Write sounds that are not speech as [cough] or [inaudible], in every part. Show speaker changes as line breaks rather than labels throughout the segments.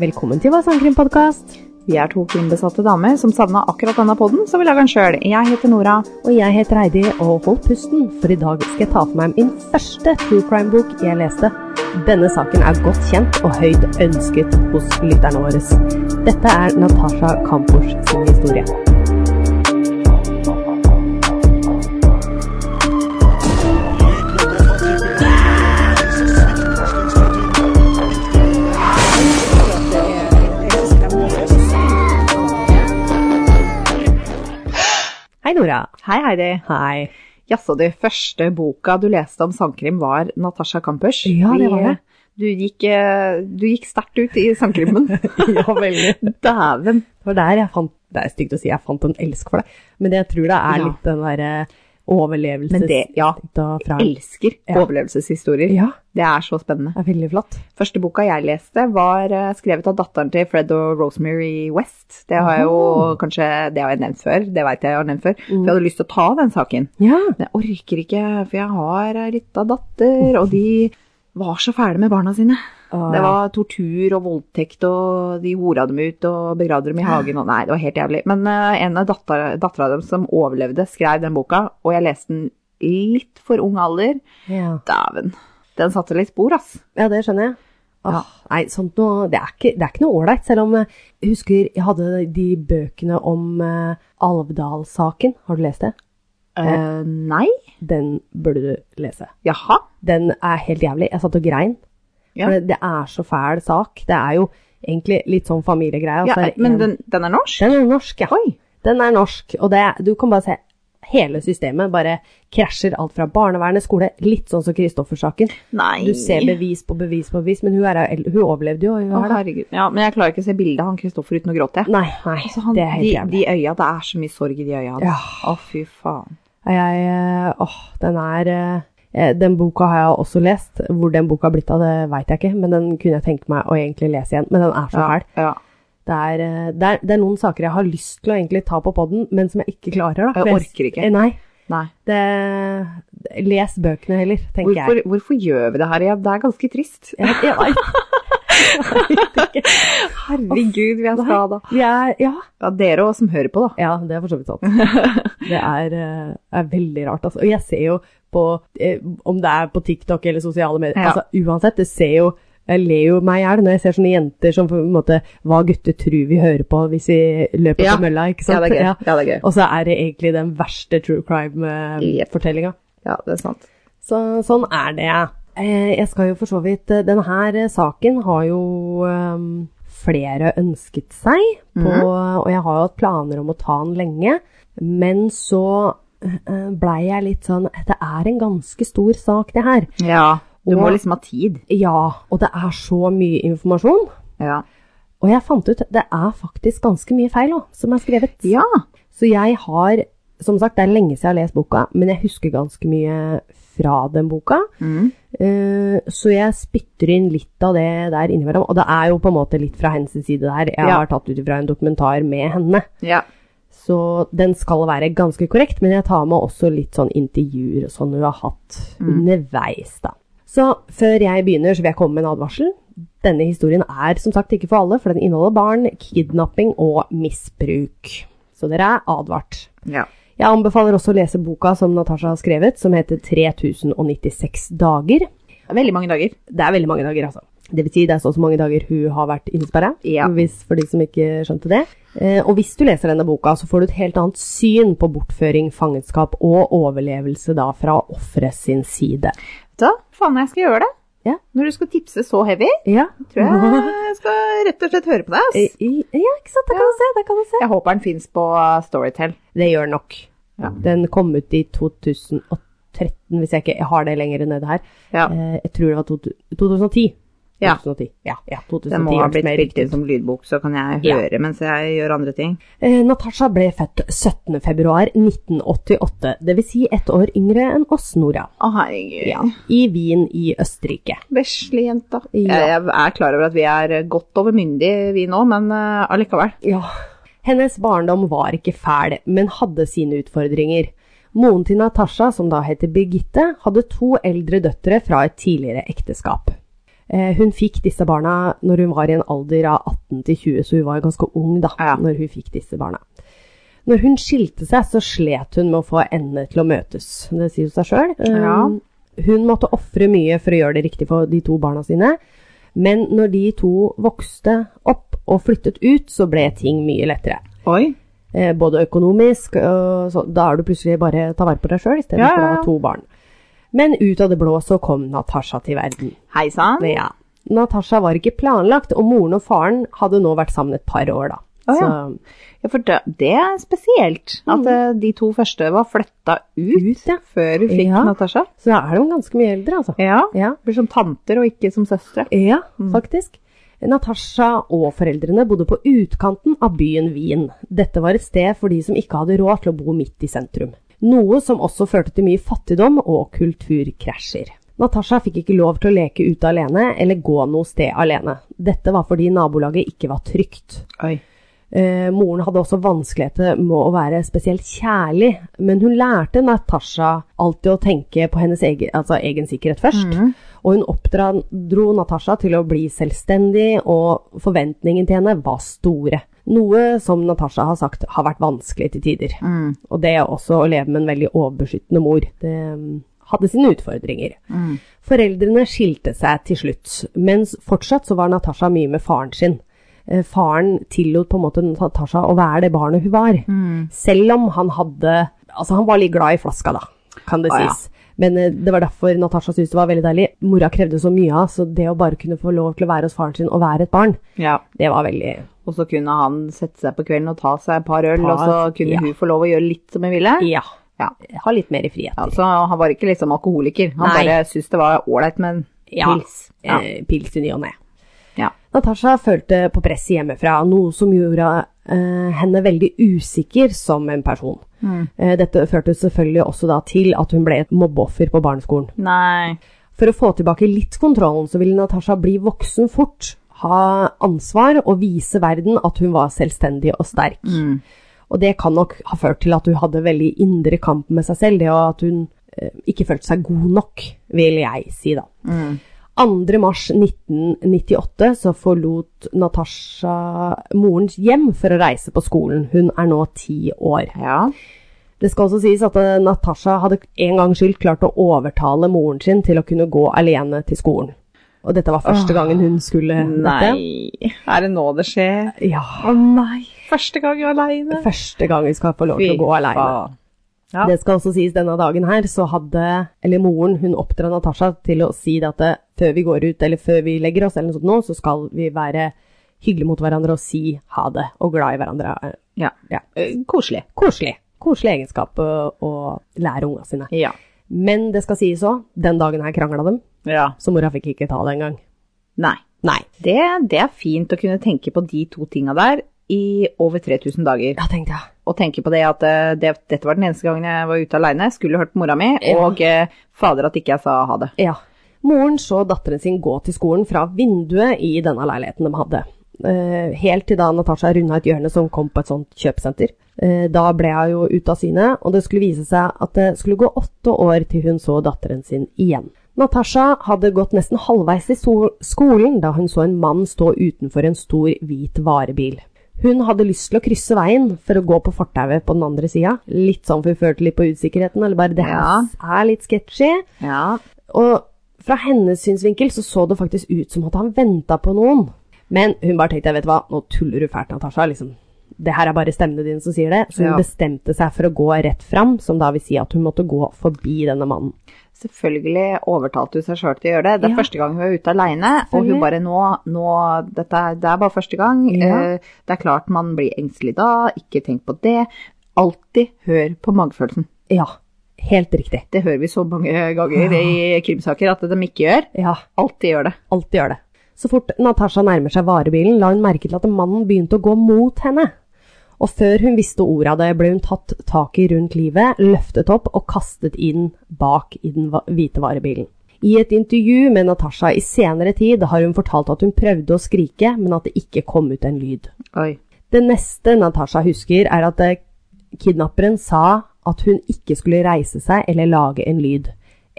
Velkommen til Hva sangkrimpodkast.
Vi er to krimbesatte damer som savna akkurat denne podden, så vi lager den sjøl. Jeg heter Nora.
Og jeg heter Heidi, og hold pusten, for i dag skal jeg ta for meg min første true crime-bok jeg leste. Denne saken er godt kjent og høyt ønsket hos lytterne våre. Dette er Natasha Kampors sin historie. Hei, Nora.
Hei, Heidi. [laughs]
Hei.
Jaså, du. Første boka du leste om sangkrim, var Natasha Kampers.
Ja, det var det.
Du gikk, eh, du gikk sterkt ut i sangkrimmen.
[laughs] Ja, veldig.
Dæven.
Det var der jeg fant Det er stygt å si jeg fant en elsk for det, men jeg tror det er
Ja.
litt den eh, derre
Men det,
overlevelsesinstinkt
ja.
og fra
Elsker
Ja.
overlevelseshistorier.
Ja,
Det er så spennende.
det er veldig flott.
Første boka jeg leste, var eh, skrevet av datteren til Fred og Rosemary West. Det har jeg jo kanskje Det har jeg nevnt før. Det veit jeg jeg har nevnt før.
Mm.
For jeg hadde lyst til å ta den saken.
Ja.
Men jeg orker ikke, for jeg har ei lita datter, og de var så fæle med barna sine. Det var tortur og voldtekt, og de hora dem ut og begravde dem i hagen. Og nei, det var helt jævlig. Men eh, en av datter- dattera dem som overlevde, skrev den boka, og jeg leste den i litt for ung alder.
ja.
Dæven. Den satte litt spor, ass.
Ja, det skjønner jeg. Åh,
Ja.
Nei, sånt noe, det, er ikke, det er ikke noe ålreit, selv om eh, jeg husker jeg hadde de bøkene om eh, Alvdal-saken. Har du lest det?
Eh, nei?
Den burde du lese.
Jaha?
Den er helt jævlig. Jeg satt og grein.
Ja.
For det, det er så fæl sak. Det er jo egentlig litt sånn familiegreie. og
Ja, eh,
så er det en-
men den, den er norsk?
den er norsk, ja.
Oi.
Den er norsk, og det, du kan bare se hele systemet bare krasjer alt fra barnevernet, skole, litt sånn som Kristoffer-saken.
Nei.
Du ser bevis på bevis på bevis, men hun, er, el- hun overlevde jo. og Hun
Å,
er da.
herregud. Ja, men jeg klarer ikke å se bildet av han Kristoffer uten å gråte.
Nei, nei,
Altså, han,
det er helt
de,
jævlig.
de øya, det er så mye sorg i de øya. hans.
Ja.
Å, fy faen.
Jeg, eh, åh, den er eh, Den boka har jeg også lest. Hvor den boka har blitt av, det veit jeg ikke, men den kunne jeg tenke meg å egentlig lese igjen. Men den er så
Ja,
fæl.
ja.
Det er, eh, det, er, det er noen saker jeg har lyst til å egentlig ta på poden, men som jeg ikke klarer. Da.
Jeg
For
orker ikke.
Eh, Nei.
Nei.
Det, les bøkene heller, tenker
Hvorfor,
jeg.
hvorfor gjør vi det her igjen? Det er ganske trist.
Jeg, jeg vet ikke.
Herregud, vi er
Nei.
skada.
Vi er, ja.
Ja, dere også som hører på, da.
ja, det er for så vidt sant. Det er, eh, er veldig rart. Altså. Og jeg ser jo på eh, Om det er på TikTok eller sosiale medier
Ja.
altså, Uansett, det ser jo jeg ler jo meg i hjel når jeg ser sånne jenter som på en måte Hva gutter tror vi hører på hvis vi løper
Ja.
på mølla, ikke sant?
Ja, det er gøy. Ja. det er gøy.
Og så er det egentlig den verste true eh, crime-fortellinga.
Ja, det er sant.
Så, sånn er det. Eh, Jeg skal jo for så vidt eh, Denne her eh, saken har jo ehm, flere ønsket seg, på, og jeg har jo hatt planer om å ta den lenge. Men så eh, blei jeg litt sånn Det er en ganske stor sak, det her.
Ja, du må
Og-
liksom ha tid.
Ja, og det er så mye informasjon.
Ja.
Og jeg fant ut det er faktisk ganske mye feil òg, som er skrevet.
ja.
Så jeg har, som sagt, det er lenge siden jeg har lest boka, men jeg husker ganske mye fra den boka.
Mm.
Eh, så jeg spytter inn litt av det der innimellom, og det er jo på en måte litt fra hennes side der. Jeg
Ja.
har tatt ut fra en dokumentar med henne,
ja.
så den skal være ganske korrekt, men jeg tar med også litt sånn intervjuer og sånn hun har hatt underveis, da. Så før jeg begynner, så vil jeg komme med en advarsel. Denne historien er som sagt ikke for alle, for den inneholder barn, kidnapping og misbruk. Så dere er advart.
ja.
Jeg anbefaler også å lese boka som Natasha har skrevet, som heter 3096 dager.
Veldig mange dager.
Det er veldig mange dager, altså. Det vil si det er så og så mange dager hun har vært innesperra,
Ja.
hvis, for de som ikke skjønte det. Eh, og hvis du leser denne boka, så får du et helt annet syn på bortføring, fangenskap og overlevelse da fra offeret sin side.
Vet du hva? Faen, jeg skal gjøre det.
Ja.
Når du skal tipse så heavy,
Ja, [laughs]
tror jeg jeg skal rett og slett høre på deg.
Eh,
ass.
i- Ja, ikke sant. Det kan du se. Det kan du se.
Jeg håper den fins på Storytel.
Det gjør den nok.
Ja.
Den kom ut i 2013, hvis jeg ikke jeg har det lenger nede her.
Ja.
Eh, jeg tror det var to, 2010.
Ja.
2010. Ja, ja, 2010
Den må ha
hørtes
blitt
mer
spilt inn som lydbok, så kan jeg
Ja.
høre mens jeg gjør andre ting.
Eh, Natasha ble født 17.2.1988, dvs. Si ett år yngre enn oss, Nora.
Å, herregud.
Ja, I Wien i Østerrike.
Vesle jenta.
Ja.
Jeg jeg er klar over at vi er godt over myndige, vi nå, men eh, allikevel.
Ja. Hennes barndom var ikke fæl, men hadde sine utfordringer. Moren til Natasha, som da heter Birgitte, hadde to eldre døtre fra et tidligere ekteskap. Eh, Hun fikk disse barna når hun var i en alder av 18 til 20, så hun var jo ganske ung da
Ja.
når hun fikk disse barna. Når hun skilte seg, så slet hun med å få endene til å møtes. Det sier jo seg sjøl. Um,
Ja.
Hun måtte ofre mye for å gjøre det riktig for de to barna sine. Men når de to vokste opp og flyttet ut, så ble ting mye lettere.
Oi.
Eh, både økonomisk og så, Da er du plutselig bare ta vare på deg sjøl istedenfor
Ja,
for å
ja, ja.
ha to barn. Men ut av det blå så kom Natasha til verden.
Hei sann.
Ja. Natasha var ikke planlagt, og moren og faren hadde nå vært sammen et par år, da.
Å, ja.
Så-
Ja, for det, det er spesielt at eh, de to første var flytta ut,
Ut, ja.
før hun fikk
Ja.
Natasha.
Så da er de ganske mye eldre, altså.
Ja.
Ja,
Blir som tanter og ikke som søstre.
ja faktisk. Natasha og foreldrene bodde på utkanten av byen Wien. Dette var et sted for de som ikke hadde råd til å bo midt i sentrum. Noe som også førte til mye fattigdom og kulturkrasjer. Natasha fikk ikke lov til å leke ute alene eller gå noe sted alene. Dette var fordi nabolaget ikke var trygt.
Oi.
Eh, moren hadde også vanskeligheter med å være spesielt kjærlig, men hun lærte Natasha alltid å tenke på hennes egen, altså egen sikkerhet først. Og hun oppdro Natasha til å bli selvstendig, og forventningene til henne var store. Noe som Natasha har sagt har vært vanskelig til tider. Og det også å leve med en veldig overbeskyttende mor. Det mm, hadde sine utfordringer. Foreldrene skilte seg til slutt, mens fortsatt så var Natasha mye med faren sin. Eh, Faren tillot på en måte Natasha å være det barnet hun var,
Mm.
selv om han hadde Altså, han var litt glad i flaska, da, kan det
Å, ja.
sies. Men eh, det var derfor Natasha syntes det var veldig deilig. Mora krevde så mye av, så det å bare kunne få lov til å være hos faren sin og være et barn,
Ja.
det var veldig
Og så kunne han sette seg på kvelden og ta seg et par øl,
Par,
og så kunne
ja.
hun få lov å gjøre litt som hun ville.
Ja.
Ja.
Ha litt mer i frihet.
Ja, så han var ikke liksom alkoholiker. Han
Nei.
bare syntes det var ålreit med en pils. Ja.
eh, Pils i ny og ne.
Ja.
Natasha følte på press hjemmefra, noe som gjorde eh, henne veldig usikker som en person. Eh, dette førte selvfølgelig også da til at hun ble et mobbeoffer på barneskolen.
Nei.
For å få tilbake litt kontrollen, så ville Natasha bli voksen fort, ha ansvar og vise verden at hun var selvstendig og sterk. Og det kan nok ha ført til at hun hadde veldig indre kamp med seg selv, det og at hun eh, ikke følte seg god nok, vil jeg si da. 2. mars 1998 så forlot Natasha morens hjem for å reise på skolen. Hun er nå ti år.
Ja.
Det skal også sies at eh, Natasha hadde en gang skyld klart å overtale moren sin til å kunne gå alene til skolen. Og dette var første gangen hun skulle dette.
Nei. Er det nå det skjer?
Ja,
Å nei. Første gang aleine.
første gang hun skal få lov til å gå alene.
Ja.
Det skal også sies denne dagen her, så hadde, eller moren, hun oppdra Natasha til å si det at det, før vi går ut, eller før vi legger oss, eller noe sånt nå, så skal vi være hyggelige mot hverandre og si ha det, og glad i hverandre.
Ja.
Ja.
Eh, Koselig.
Koselig. Koselig egenskap å, å lære unga sine.
Ja.
Men det skal sies òg, den dagen her krangla dem,
ja.
så mora fikk ikke ta det engang.
Nei.
Nei.
Det, det er fint å kunne tenke på de to tinga der i over 3000 dager.
Ja, tenkte jeg.
Og tenke på det at eh, det, dette var den eneste gangen jeg var ute aleine, skulle hørt på mora mi,
Ja.
og eh, fader at ikke jeg sa ha det.
Ja. Moren så datteren sin gå til skolen fra vinduet i denne leiligheten de hadde. Eh, helt til da Natasha runda et hjørne som kom på et sånt kjøpesenter. Eh, da ble hun jo ute av syne, og det skulle vise seg at det skulle gå åtte år til hun så datteren sin igjen. Natasha hadde gått nesten halvveis i so- skolen da hun så en mann stå utenfor en stor, hvit varebil. Hun hadde lyst til å krysse veien for å gå på fortauet på den andre sida. Litt sånn for hun følte litt på usikkerheten, eller bare det her
Ja.
er litt sketchy.
Ja.
Og fra hennes synsvinkel så så det faktisk ut som at han venta på noen. Men hun bare tenkte, vet du hva, nå tuller du fælt, Natasha. liksom. Det her er bare stemmene dine som sier det. Så hun
Ja.
bestemte seg for å gå rett fram, som da vil si at hun måtte gå forbi denne mannen.
Selvfølgelig overtalte hun seg sjøl til å gjøre det. Det er
Ja.
første gang hun er ute aleine, og hun
Selvfølgelig.
bare nå, nå dette, er- Det er bare første gang.
Ja.
Eh, Det er klart man blir engstelig da, ikke tenk på det. Alltid hør på magefølelsen.
Ja, helt riktig.
Det hører vi så mange ganger i krimsaker at de ikke gjør.
Ja,
Alltid gjør det.
alltid gjør det. Så fort Natasha nærmer seg varebilen, la hun merke til at mannen begynte å gå mot henne. Og før hun visste ordet av det, ble hun tatt tak i rundt livet, løftet opp og kastet inn bak i den va- hvite varebilen. I et intervju med Natasha i senere tid har hun fortalt at hun prøvde å skrike, men at det ikke kom ut en lyd.
Oi.
Det neste Natasha husker, er at eh, kidnapperen sa at hun ikke skulle reise seg eller lage en lyd.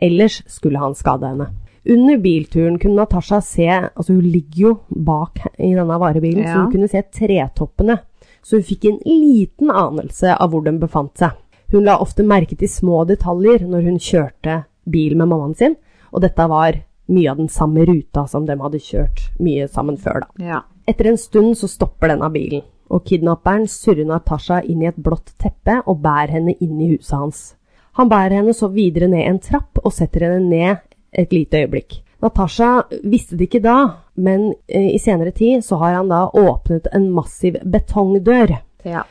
Ellers skulle han skade henne. Under bilturen kunne Natasha se Altså, hun ligger jo bak i denne varebilen, så
Ja.
hun kunne se tretoppene. Så hun fikk en liten anelse av hvor den befant seg. Hun la ofte merke til små detaljer når hun kjørte bil med mammaen sin, og dette var mye av den samme ruta som de hadde kjørt mye sammen før, da.
Ja.
Etter en stund så stopper denne bilen, og kidnapperen surrer Natasha inn i et blått teppe og bærer henne inn i huset hans. Han bærer henne så videre ned en trapp og setter henne ned et lite øyeblikk. Natasha visste det ikke da, men eh, i senere tid så har han da åpnet en massiv betongdør.
ja.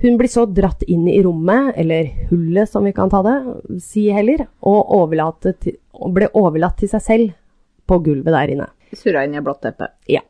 Hun blir så dratt inn i rommet, eller hullet som vi kan ta det, si heller, og overlatt til, og ble overlatt til seg selv på gulvet der inne.
Surra inn i blått teppe.
Ja.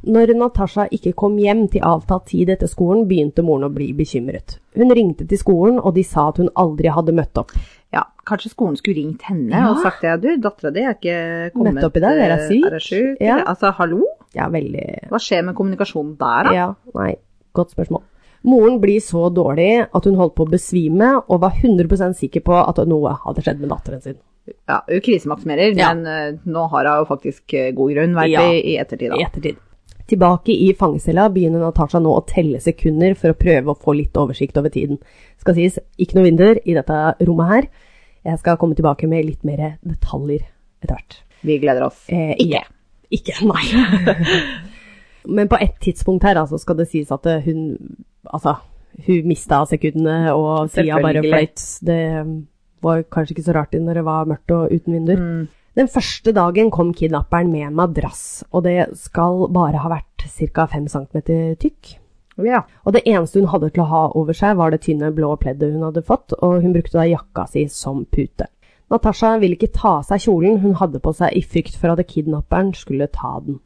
Når Natasha ikke kom hjem til avtalt tid etter skolen, begynte moren å bli bekymret. Hun ringte til skolen, og de sa at hun aldri hadde møtt opp.
Ja, kanskje skolen skulle ringt henne
Ja.
og sagt ja, du, dattera di er ikke kommet eh,
Nettopp i dag, er hun syk?
Er hun syk?
Ja.
eller- Altså, hallo?
Ja, veldig
Hva skjer med kommunikasjonen der, da?
Ja, nei, godt spørsmål. Moren blir så dårlig at hun holdt på å besvime, og var 100 sikker på at noe hadde skjedd med datteren sin.
Ja, hun krisemaksimerer,
Ja.
men eh, nå har hun jo faktisk eh, god grunn, vet
Ja.
vi, i ettertid.
i
Da.
ettertid. Tilbake i fangecella begynner Natasha nå å telle sekunder for å prøve å få litt oversikt over tiden. Skal sies, ikke noe vinduer i dette rommet her. Jeg skal komme tilbake med litt mer detaljer etter hvert.
Vi gleder oss.
Eh, ikke. Ikke, nei. [laughs] Men på et tidspunkt her altså, skal det sies at eh, hun Altså, hun mista sekundene, og tida bare
Selvfølgelig.
fløyt. Det um, var kanskje ikke så rart når det var mørkt og uten vinduer. Den første dagen kom kidnapperen med en madrass, og det skal bare ha vært ca. 5 cm tykk.
Ja.
Og det eneste hun hadde til å ha over seg, var det tynne, blå pleddet hun hadde fått, og hun brukte da jakka si som pute. Natasha ville ikke ta av seg kjolen hun hadde på seg i frykt for at kidnapperen skulle ta den.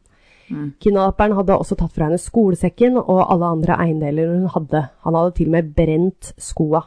Mm.
Kidnapperen hadde også tatt fra henne skolesekken og alle andre eiendeler hun hadde. Han hadde til og med brent skoa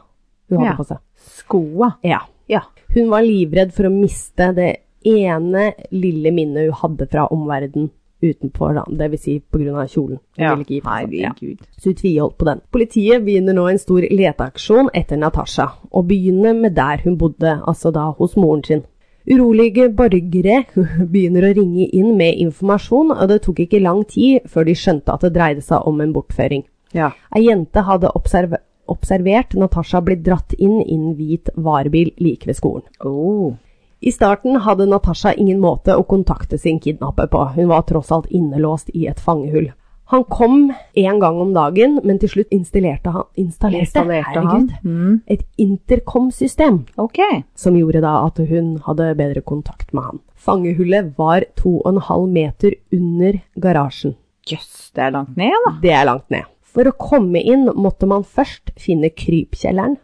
hun hadde
Ja.
på seg.
Skoa.
Ja.
Ja.
Hun var livredd for å miste det ene lille minnet hun hadde fra omverdenen utenfor, da, dvs. Si pga. kjolen. Hun ville ikke gi fra seg. Ja.
Herregud.
Så hun tviholdt på den. Politiet begynner nå en stor leteaksjon etter Natasha, og begynner med der hun bodde, altså da hos moren sin. Urolige borgere [laughs] begynner å ringe inn med informasjon, og det tok ikke lang tid før de skjønte at det dreide seg om en bortføring.
Ja.
Ei jente hadde observ observert Natasha bli dratt inn i en hvit varebil like ved skolen.
Oh.
I starten hadde Natasha ingen måte å kontakte sin kidnapper på, hun var tross alt innelåst i et fangehull. Han kom én gang om dagen, men til slutt installerte han, installerte,
Installerte han. Mm.
herregud, et intercom-system,
Ok.
som gjorde da at hun hadde bedre kontakt med han. Fangehullet var 2,5 meter under garasjen.
Jøss, det er langt ned, da.
Det er langt ned. For å komme inn måtte man først finne krypkjelleren,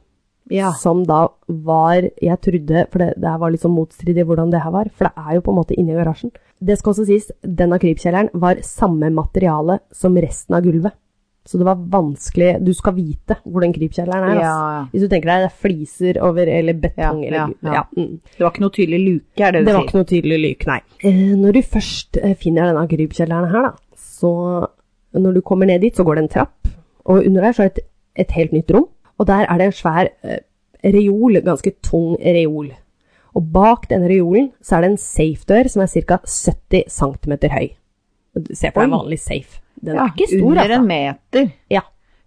som da var Jeg trodde, for det, det her var litt sånn motstridig hvordan det her var, for det er jo på en måte inni garasjen. Det skal også sies, denne krypkjelleren var samme materiale som resten av gulvet. Så det var vanskelig Du skal vite hvor den krypkjelleren er.
Ja,
ass.
ja.
Hvis du tenker deg det er fliser over, eller betong,
Ja,
eller
ja,
gu-
ja.
mm.
Det var ikke noe tydelig luke, er det du
Det var
sier?
ikke noe tydelig lyk, nei. Eh, når du først eh, finner denne krypkjelleren her, da, så når du kommer ned dit, så går det en trapp, og under der så er det et, et helt nytt rom, og der er det en svær eh, reol, ganske tung reol. Og bak denne reolen så er det en safe-dør som er ca. 70 cm høy. Se på en
Oi.
vanlig safe. Den
Ja,
er ikke stor,
Under en
altså.
meter.
Ja.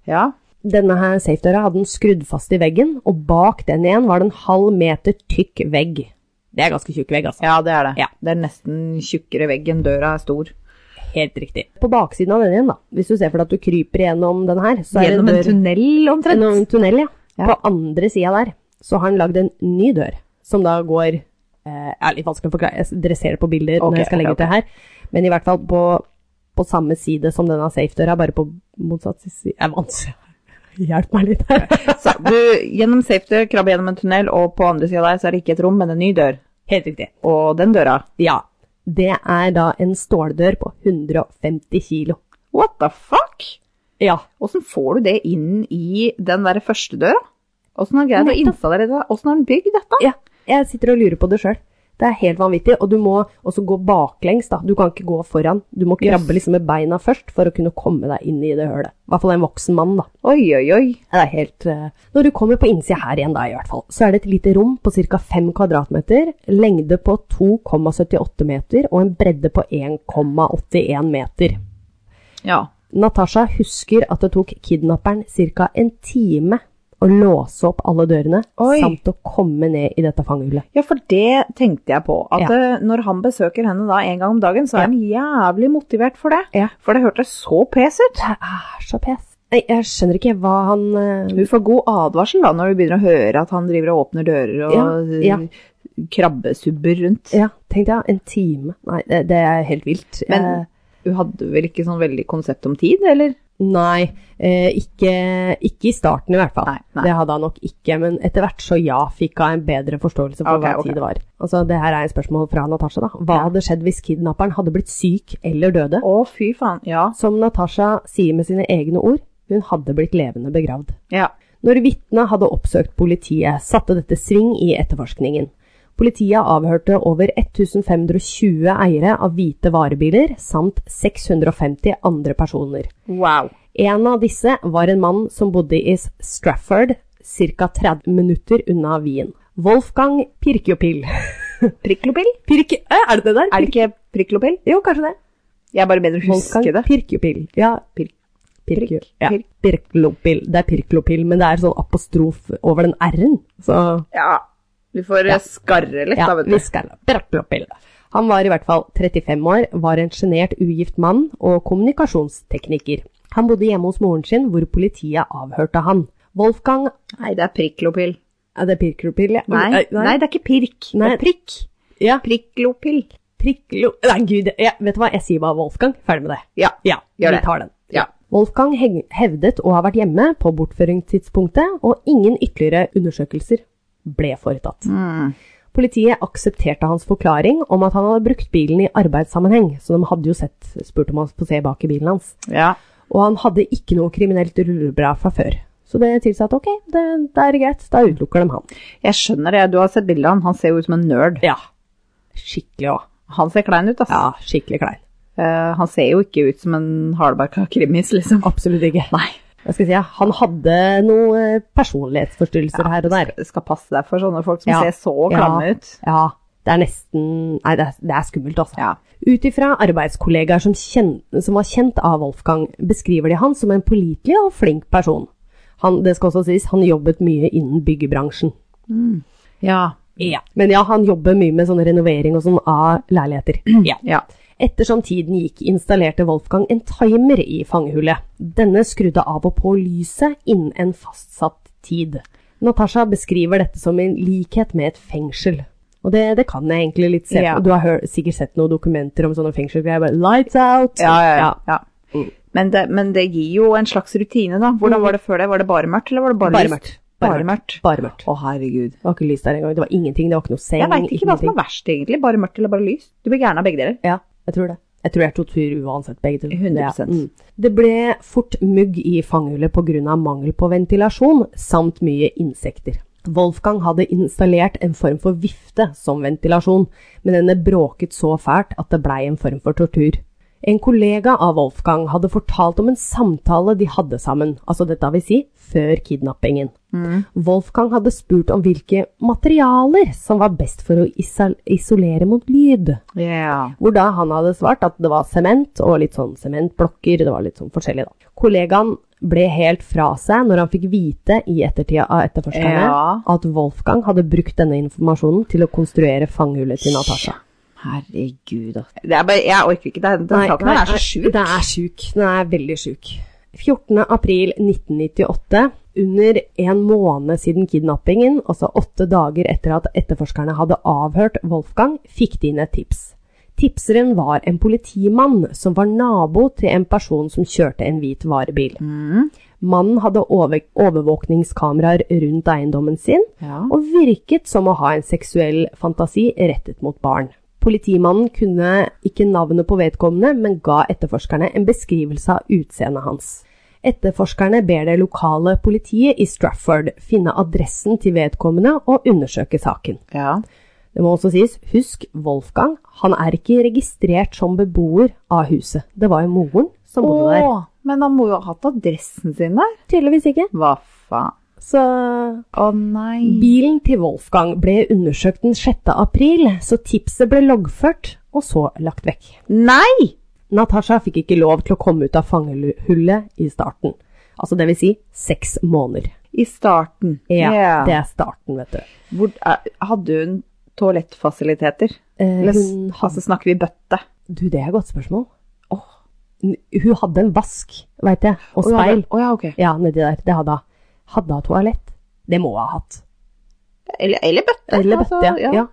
Ja.
Denne her safe-døra hadde den skrudd fast i veggen, og bak den igjen var det en halv meter tykk vegg. Det er ganske tjukk vegg, altså.
ja, det er det.
Ja.
Det er nesten tjukkere vegg enn døra er stor.
Helt riktig. På baksiden av den igjen, da. Hvis du ser for deg at du kryper gjennom den her, så er
Gjennom
det en
en
dør
tunnel,
gjennom en
omtrent.
tunnel. Ja.
Ja.
På andre sida der så har han lagd en ny dør, som da går eh, er Litt vanskelig å forklare, jeg dresserer på bilder
Ok,
når jeg skal legge ut det her, men i hvert fall på, på samme side som denne safe-døra, bare på motsatt side Det er vanskelig. [laughs] Hjelp meg litt her.
[laughs] [laughs] Så du, gjennom safety, krabbe gjennom en tunnel, og på andre sida der så er det ikke et rom, men en ny dør.
Helt riktig.
Og den døra
Ja. Det er da en ståldør på 150 kilo.
What the fuck?
Ja.
Åssen får du det inn i den der første døra? Åssen har han greid å
Nettopp.
installere det? Åssen har han bygd dette?
Ja, jeg sitter og lurer på det sjøl. Det er helt vanvittig. Og du må også gå baklengs, da. Du kan ikke gå foran. Du må krabbe liksom med beina først for å kunne komme deg inn i det hølet. I hvert fall en voksen mann, da.
Oi, oi, oi.
Det er helt eh, Når du kommer på innsida her igjen, da, i hvert fall, så er det et lite rom på ca. 5 kvadratmeter, lengde på 2,78 meter og en bredde på 1,81 meter.
Ja.
Natasha husker at det tok kidnapperen ca. en time å låse opp alle dørene,
Oi.
samt å komme ned i dette fangehullet.
Ja, for det tenkte jeg på.
Ja.
At eh, når han besøker henne da en gang om dagen, så
Ja.
er han jævlig motivert for det.
Ja.
For det hørtes så pes ut.
Det er så pes. Nei, Jeg skjønner ikke hva han eh,
Du får god advarsel da når du begynner å høre at han driver og åpner dører og
Ja, ja.
eh, krabbesubber rundt.
Ja, tenkte jeg. En time. Nei, det, det er helt vilt.
Men
Jeg-
du hadde vel ikke sånn veldig konsept om tid, eller?
Nei, eh, ikke, ikke i starten i hvert fall.
Nei, nei.
Det hadde han nok ikke, men etter hvert så ja, fikk hun en bedre forståelse for
Ok,
hva
ok.
tid det var. Altså, det her er et spørsmål fra Natasha, da. Hva
Ja.
hadde skjedd hvis kidnapperen hadde blitt syk eller døde?
Å, fy faen. Ja.
Som Natasha sier med sine egne ord, hun hadde blitt levende begravd.
ja.
Når vitnet hadde oppsøkt politiet, satte dette sving i etterforskningen. Politiet avhørte over 1520 eiere av hvite varebiler, samt 650 andre personer.
Wow.
En av disse var en mann som bodde i Strafford, ca. 30 minutter unna Wien. Wolfgang Pirkjopil. [laughs]
Priklopill?
Pirk... Æ, Er det det der?
Er det ikke priklopill?
Jo, kanskje det.
Jeg er bare bedre å huske
Wolfgang
det.
Pirkjopil. Ja,
Pirk-
Pirk,
Pirk-
ja.
Pirk-
Pirklopil. Det er Pirklopil, men det er sånn apostrof over den r-en. Så
Ja. Du får eh, skarre litt,
ja,
da, vet
vi
du.
skal Pirklopil. Han var i hvert fall 35 år, var en sjenert ugift mann og kommunikasjonstekniker. Han bodde hjemme hos moren sin, hvor politiet avhørte han. Wolfgang
Nei, det er priklopill.
Er det pirklopill? ja?
Nei. Nei. det er ikke pirk.
Nei.
Det er prikk.
Ja.
Priklopill.
Priklo... Nei, gud. Ja, vet du hva, jeg sier bare Wolfgang. Ferdig med det.
Ja.
Ja,
Gjør
vi
det.
tar den.
Ja.
Wolfgang heng- hevdet å ha vært hjemme på bortføringstidspunktet, og ingen ytterligere undersøkelser ble foretatt.
Mm.
Politiet aksepterte hans forklaring om at han hadde brukt bilen i arbeidssammenheng, så de hadde jo sett, spurt om han skulle se bak i bilen hans.
Ja.
Og han hadde ikke noe kriminelt rulleblad fra før. Så det tilsa at ok, det, det er greit, da utelukker de han.
Jeg skjønner det. Du har sett bildet av han. Han ser jo ut som en nerd.
Ja, skikkelig òg.
Han ser klein ut, ass.
Ja, skikkelig klein.
Eh, han ser jo ikke ut som en hardbarka krimis, liksom.
Absolutt ikke.
Nei.
Hva skal jeg si, ja, han hadde noen eh, personlighetsforstyrrelser her og der.
Skal, skal passe deg for sånne folk som
Ja.
ser så klamme
Ja.
ut.
Ja, det er nesten Nei, det er, det er skummelt, altså.
Ja.
Ut ifra arbeidskollegaer som, kjen, som var kjent av Wolfgang, beskriver de han som en pålitelig og flink person. Han, det skal også sies, han jobbet mye innen byggebransjen.
Ja.
Ja. Men ja, han jobber mye med sånn renovering og sånn av leiligheter. Ja.
Ja.
Ettersom tiden gikk, installerte Wolfgang en timer i fangehullet. Denne skrudde av og på lyset innen en fastsatt tid. Natasha beskriver dette som en likhet med et fengsel. Og det, det kan jeg egentlig litt se på.
Ja.
Du har hør, sikkert sett noen dokumenter om sånne fengselsgreier. Bare 'lights out'.
Ja, ja, ja. Mm.
Ja,
ja. Men, det, men det gir jo en slags rutine, da. Hvordan var det før det? Var det bare mørkt, eller var det Mm. bare,
Bare
lyst?
mørkt.
Bare mørkt.
Bare mørkt.
Å, herregud.
Det var ikke lys der engang. Det var ingenting. Det var ikke noe seng.
Jeg veit ikke hva som er verst, egentlig. Bare mørkt eller bare lys. Du blir gæren av begge deler.
Ja, jeg tror det. Jeg tror jeg tok tur uansett, begge to.
100%.
Det, det ble fort mugg i fangehullet pga. mangel på ventilasjon, samt mye insekter. Wolfgang hadde installert en form for vifte som ventilasjon, men denne bråket så fælt at det blei en form for tortur. En kollega av Wolfgang hadde fortalt om en samtale de hadde sammen, altså dette vil si før kidnappingen. Wolfgang hadde spurt om hvilke materialer som var best for å isol- isolere mot lyd.
Ja.
Hvor da han hadde svart at det var sement og litt sånn sementblokker, det var litt sånn forskjellig da. Kollegaen ble helt fra seg når han fikk vite i ettertida av etterforskerne
Ja.
at Wolfgang hadde brukt denne informasjonen til å konstruere fangehullet til Natasha.
Herregud, altså. Det er bare, jeg orker ikke. Den, den saken her er så sjuk.
Den er sjuk. Den er veldig sjuk. 14. april 1998, under en måned siden kidnappingen, altså åtte dager etter at etterforskerne hadde avhørt Wolfgang, fikk de inn et tips. Tipseren var en politimann som var nabo til en person som kjørte en hvit varebil. Mannen hadde over overvåkningskameraer rundt eiendommen sin,
Ja.
og virket som å ha en seksuell fantasi rettet mot barn. Politimannen kunne ikke navnet på vedkommende, men ga etterforskerne en beskrivelse av utseendet hans. Etterforskerne ber det lokale politiet i Strafford finne adressen til vedkommende og undersøke saken.
Ja.
Det må også sies, husk Wolfgang, han er ikke registrert som beboer av huset. Det var jo moren som bodde der.
Åh, men han må jo ha hatt adressen sin der.
Tydeligvis ikke.
Hva faen?
Så
Å nei.
bilen til Wolfgang ble undersøkt den 6. april, så tipset ble loggført og så lagt vekk.
Nei!
Natasha fikk ikke lov til å komme ut av fangehullet i starten. Altså det vil si seks måneder.
I starten.
Ja,
Ja.
det er starten, vet du.
Hvor, eh, hadde hun toalettfasiliteter?
Eh,
Eller s-
hun hadde,
altså, snakker vi bøtte?
du, det er et godt spørsmål. N- Hun hadde en vask, veit jeg, og
Å, ja,
speil.
vel. Å ja, ok.
Ja, nedi der. Det hadde hun. Hadde hun toalett? Det må hun ha hatt.
Eller, eller bøtte.
Eller
altså,
bøtte, ja. ja.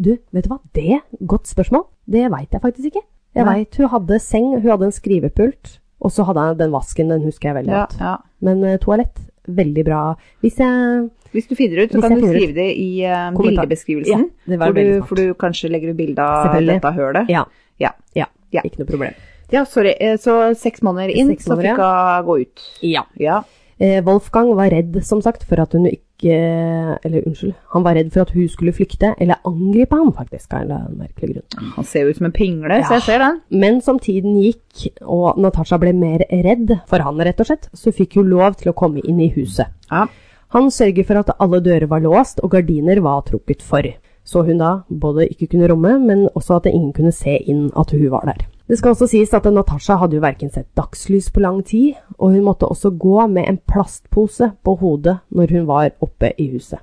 Du, vet du hva? Det, godt spørsmål. Det veit jeg faktisk ikke. Jeg
Nei.
veit hun hadde seng, hun hadde en skrivepult, og så hadde hun den vasken, den husker jeg veldig
Ja,
godt.
ja.
Men eh, toalett, veldig bra. Hvis jeg
Hvis du finner ut, så
Hvis
kan
jeg
du
finner ut.
skrive det i eh,
Kommentar.
bildebeskrivelsen.
Ja, det var
for,
veldig
du,
smart.
for du kanskje legger du bilde av
Selvfølgelig.
dette hølet.
Ja.
Ja.
Ja,
Ja.
Ikke noe problem.
Ja, sorry. eh, Så seks måneder inn,
Seks måneder,
så fikk hun gå ut.
Ja.
Ja.
Eh, Wolfgang var redd, som sagt, for at hun ikke Eller unnskyld, han var redd for at hun skulle flykte, eller angripe ham, faktisk, av en eller annen merkelig grunn.
Han ser jo ut som en pingle,
Ja.
så jeg ser den.
Men som tiden gikk, og Natasha ble mer redd for han, rett og slett, så fikk hun lov til å komme inn i huset.
Ja.
Han sørget for at alle dører var låst, og gardiner var trukket for. Så hun da både ikke kunne romme, men også at ingen kunne se inn at hun var der. Det skal også sies at Natasha hadde jo verken sett dagslys på lang tid, og hun måtte også gå med en plastpose på hodet når hun var oppe i huset.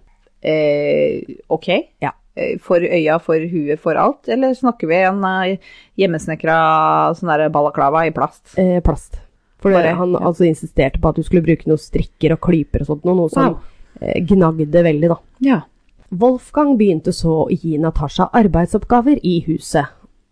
Eh, ok.
Ja.
Eh, For øya, for huet, for alt? Eller snakker vi en eh, hjemmesnekra sånn der balaklava i plast?
Eh, plast. For
Bare,
han
ja.
altså insisterte på at du skulle bruke noen strikker og klyper og sånt, noe, noe som
Wow.
eh, gnagde veldig, da.
Ja.
Wolfgang begynte så å gi Natasha arbeidsoppgaver i huset,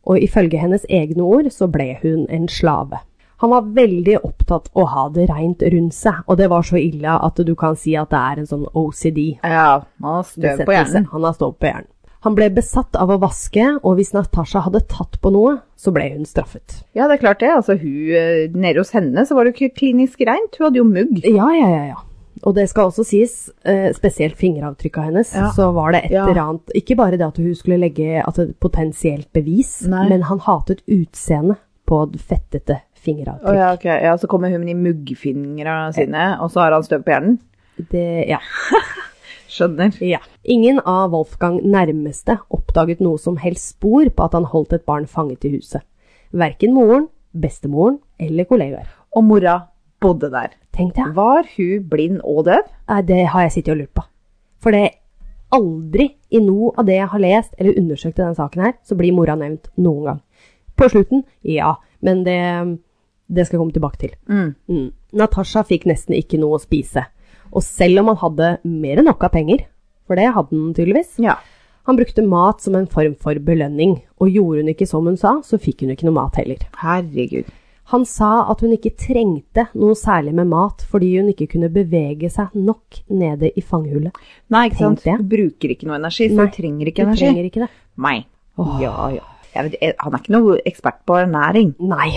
og ifølge hennes egne ord så ble hun en slave. Han var veldig opptatt å ha det rent rundt seg, og det var så ille at du kan si at det er en sånn OCD.
Ja, man har støv på
besettelse.
hjernen.
Han har stått på hjernen. Han ble besatt av å vaske, og hvis Natasha hadde tatt på noe, så ble hun straffet.
Ja, det er klart det. Altså, hun, eh, nede hos henne så var det jo ikke klinisk rent. Hun hadde jo mugg.
Ja, ja, ja. ja. Og det skal også sies, eh, spesielt fingeravtrykka hennes,
Ja.
så var det et
Ja.
eller annet Ikke bare det at hun skulle legge at et potensielt bevis,
Nei.
men han hatet utseendet på det fettete
Å
fingeravtrykk.
ja, ok. Ja, så kommer hun med de muggfingra sine, og så har han støv på hjernen.
Det, ja.
Skjønner.
ja. Ingen av Wolfgang nærmeste oppdaget noe som helst spor på at han holdt et barn fanget i huset. Verken moren, bestemoren eller kollegaer.
Og mora bodde der.
Tenk deg,
Var hun blind og døv?
Nei, det har jeg sittet og lurt på. For det aldri i noe av det jeg har lest eller undersøkt i denne saken her, så blir mora nevnt noen gang. På slutten, ja, men det, det skal jeg komme tilbake til. Mm. Natasha fikk nesten ikke noe å spise. Og selv om han hadde mer enn nok av penger, for det hadde han tydeligvis,
Ja.
han brukte mat som en form for belønning, og gjorde hun ikke som hun sa, så fikk hun ikke noe mat heller.
Herregud.
Han sa at hun ikke trengte noe særlig med mat fordi hun ikke kunne bevege seg nok nede i fanghullet.
Nei, ikke
Tenk
sant.
det.
Hun bruker ikke noe energi, så
Nei,
hun trenger ikke
Du
energi.
trenger ikke det.
Nei.
Åh.
Ja, ja. Jeg vet, jeg, han er ikke noe ekspert på ernæring.
Nei,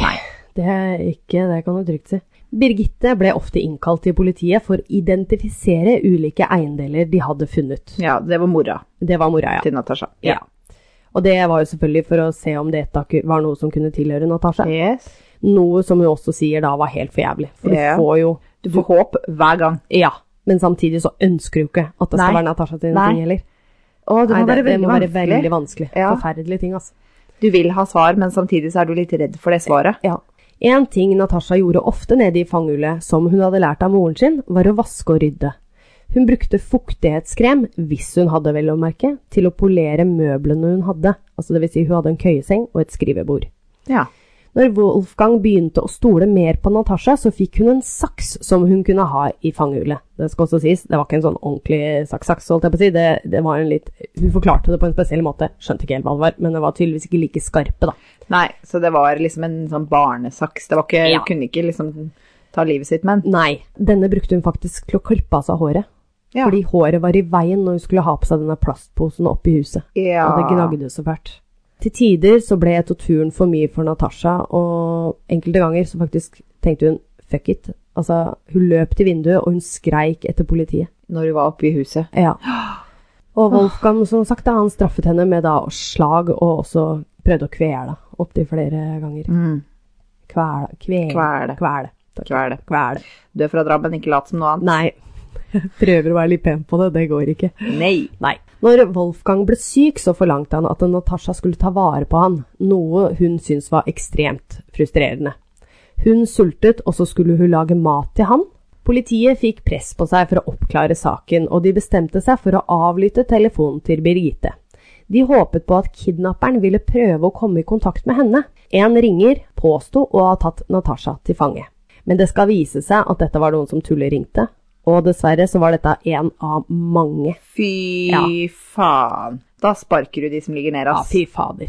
det er ikke det kan du trygt si. Birgitte ble ofte innkalt til politiet for å identifisere ulike eiendeler de hadde funnet.
Ja, det var mora
Det var mora, ja.
til Natasha.
ja. Og det var jo selvfølgelig for å se om dette var noe som kunne tilhøre Natasha.
Yes.
Noe som hun også sier da var helt for jævlig. For
Ja.
du får jo
Du får håp hver gang.
Ja. Men samtidig så ønsker du ikke at det skal
Nei.
være Natasha sine
Nei.
ting heller.
Å, det må
Nei, det,
være
det
veldig
må være
vanskelig.
veldig vanskelig.
Ja.
Forferdelige ting, altså.
Du vil ha svar, men samtidig så er du litt redd for det svaret.
Ja. En ting Natasha gjorde ofte nede i fanghullet, som hun hadde lært av moren sin, var å vaske og rydde. Hun brukte fuktighetskrem, hvis hun hadde vel å merke, til å polere møblene hun hadde. Altså det vil si hun hadde en køyeseng og et skrivebord.
Ja.
Når Wolfgang begynte å stole mer på Natasha, så fikk hun en saks som hun kunne ha i fangehullet. Det skal også sies, det var ikke en sånn ordentlig saks-saks, holdt jeg på å si. Det, det var en litt Hun forklarte det på en spesiell måte, skjønte ikke helt hva det var, men det var tydeligvis ikke like skarpe, da.
Nei, så det var liksom en sånn barnesaks. Det var ikke,
Ja.
kunne ikke liksom ta livet sitt, men
Nei, denne brukte hun faktisk til å klippe av seg håret.
ja.
Fordi håret var i veien når hun skulle ha på seg denne plastposen opp i huset.
ja.
Og det gnagde så fælt. Til tider så ble torturen for mye for Natasha, og enkelte ganger så faktisk tenkte hun fuck it. Altså, hun løp til vinduet, og hun skreik etter politiet.
Når hun var oppe i huset.
Ja. Og Wolfgang som sagt, da, han straffet henne med da, slag og også prøvde å kvele opptil flere ganger.
Mm.
Kvele. Kvele.
Kvele.
Kvele. Takk.
Kvele.
Kvele.
Du er fra Drammen, ikke lat som noe annet.
Nei. [laughs] Prøver å være litt pen på det, det går ikke.
Nei.
Nei. Når Wolfgang ble syk, så forlangte han at Natasha skulle ta vare på han, noe hun syntes var ekstremt frustrerende. Hun sultet, og så skulle hun lage mat til han. Politiet fikk press på seg for å oppklare saken, og de bestemte seg for å avlytte telefonen til Birgitte. De håpet på at kidnapperen ville prøve å komme i kontakt med henne. En ringer påsto å ha tatt Natasha til fange. Men det skal vise seg at dette var noen som tulleringte, og dessverre så var dette en av mange
Fy
Ja.
faen. Da sparker du de som ligger ned,
Ja,
ass.
fy fader.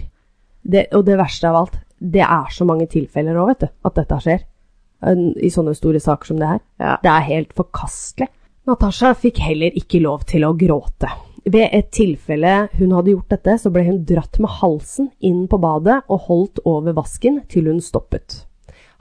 Det, og det verste av alt, det er så mange tilfeller òg, vet du, at dette skjer. En- I sånne store saker som det her.
Ja.
Det er helt forkastelig. Natasha fikk heller ikke lov til å gråte. Ved et tilfelle hun hadde gjort dette, så ble hun dratt med halsen inn på badet og holdt over vasken til hun stoppet.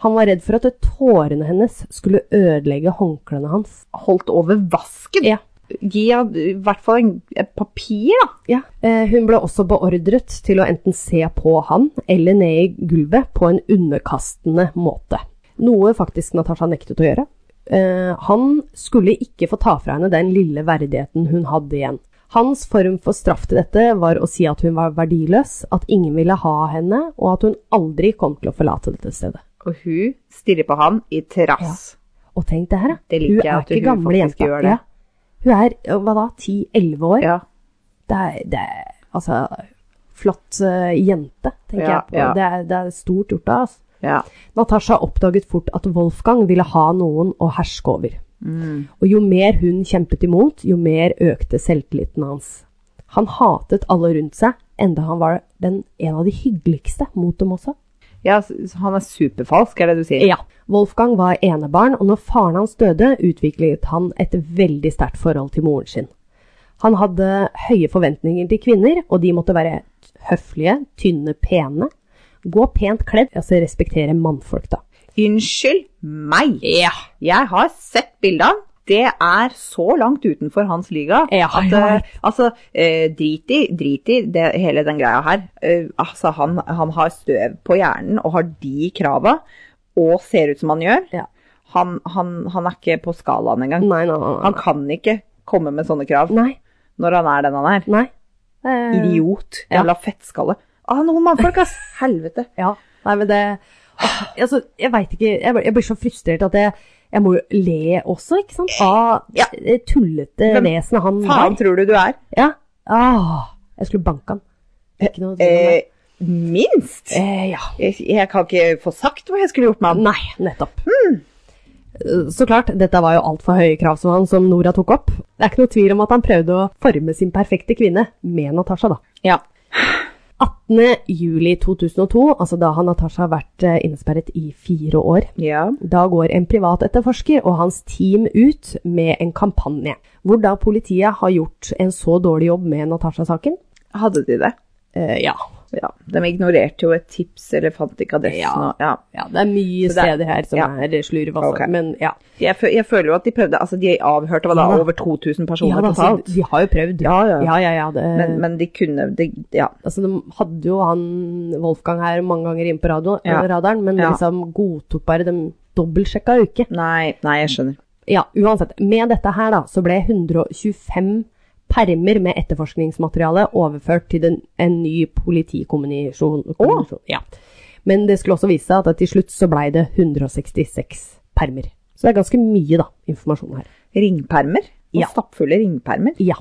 Han var redd for at tårene hennes skulle ødelegge håndklærne hans.
Holdt over vasken.
Ja,
Gi han i hvert fall en, et papir, da.
Ja. Eh, hun ble også beordret til å enten se på han eller ned i gulvet på en underkastende måte. Noe faktisk Natasha nektet å gjøre. Eh, han skulle ikke få ta fra henne den lille verdigheten hun hadde igjen. Hans form for straff til dette var å si at hun var verdiløs, at ingen ville ha henne, og at hun aldri kom til å forlate dette stedet.
Og hun stirrer på han i trass.
Og tenk det her, da.
Det liker
hun
jeg
er
at hun
ikke gamle
faktisk
jenta.
gjør det.
Ja. Hun er eh, hva da, 10-11 år.
Ja.
det er, det er altså flott eh, jente, tenker
Ja,
jeg på.
ja.
Det, er, det er stort gjort av. Altså.
ja.
Natasha oppdaget fort at Wolfgang ville ha noen å herske over.
Mm.
Og jo mer hun kjempet imot, jo mer økte selvtilliten hans. Han hatet alle rundt seg, enda han var den, en av de hyggeligste mot dem også.
Ja, s- han er superfalsk, er det du sier?
Ja. Wolfgang var enebarn, og når faren hans døde, utviklet han et veldig sterkt forhold til moren sin. Han hadde høye forventninger til kvinner, og de måtte være høflige, tynne, pene. Gå pent kledd, altså respektere mannfolk, da.
Unnskyld meg!
Ja.
Jeg har sett bildet av han. Det er så langt utenfor hans liga
Ja,
at
ja.
eh, altså, eh, drit i, drit i det, hele den greia her. Eh, altså, han, han har støv på hjernen og har de krava, og ser ut som han gjør.
Ja.
Han, han, han er ikke på skalaen engang.
Nei, nei, nei.
Han kan ikke komme med sånne krav
Nei.
når han er den han er.
nei. Eh,
Idiot.
Ja.
Jævla fettskalle. Ah, noen mannfolk,
[laughs]
ass! Helvete.
Ja. Nei, men det Åh, altså, Jeg veit ikke jeg, blir- jeg blir så frustrert at jeg, jeg må jo le også, ikke sant? Av
Ja.
det tullete
Hvem
vesenet han var.
Faen tror du du er?
Ja. Ah, jeg skulle banke han. Ikke noe tvil om det.
Eh, minst!
Eh, ja.
Jeg, jeg kan ikke få sagt hva jeg skulle gjort med han.
Nei, nettopp.
Hmm.
Eh, Så klart, dette var jo altfor høye krav som han som Nora tok opp. Det er ikke noe tvil om at han prøvde å forme sin perfekte kvinne med Natasha, da.
Ja.
18. juli 2002, altså da har Natasha vært eh, innesperret i fire år,
Ja.
da går en privat etterforsker og hans team ut med en kampanje, hvor da politiet har gjort en så dårlig jobb med Natasha-saken.
Hadde de det?
Eh, ja.
Ja. De ignorerte jo et tips, eller fant ikke adressen.
Ja.
Og, ja.
ja, det er mye
Så det er-
steder her som
ja.
er slurv, altså.
Ok.
Men ja.
Jeg, fø- jeg føler jo at de prøvde Altså, de avhørte hva da,
Ja da.
over 2000
Ja,
personer
da, altså,
totalt.
de har jo prøvd.
Ja, ja.
ja, ja, ja, det,
Men, men de kunne de, Ja.
altså, de hadde jo han Wolfgang her mange ganger inn på radio, eh,
Ja.
radaren, men
Ja.
liksom godtok bare de dobbeltsjekka jo ikke.
Nei, nei, jeg skjønner.
Ja, uansett. Med dette her da, så ble 125 permer med etterforskningsmateriale overført til den, en ny politikommunisjon. kommunisjon, Ja. Men det skulle også vise seg at til slutt så blei det 166 permer. Så det er ganske mye da, informasjon her.
Ringpermer? Og
Ja.
Stappfulle ringpermer?
Ja.